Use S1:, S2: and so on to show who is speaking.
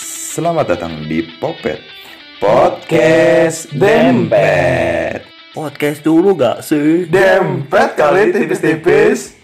S1: Selamat datang di Popet Podcast Dempet
S2: Podcast dulu gak sih?
S1: Dempet kali tipis-tipis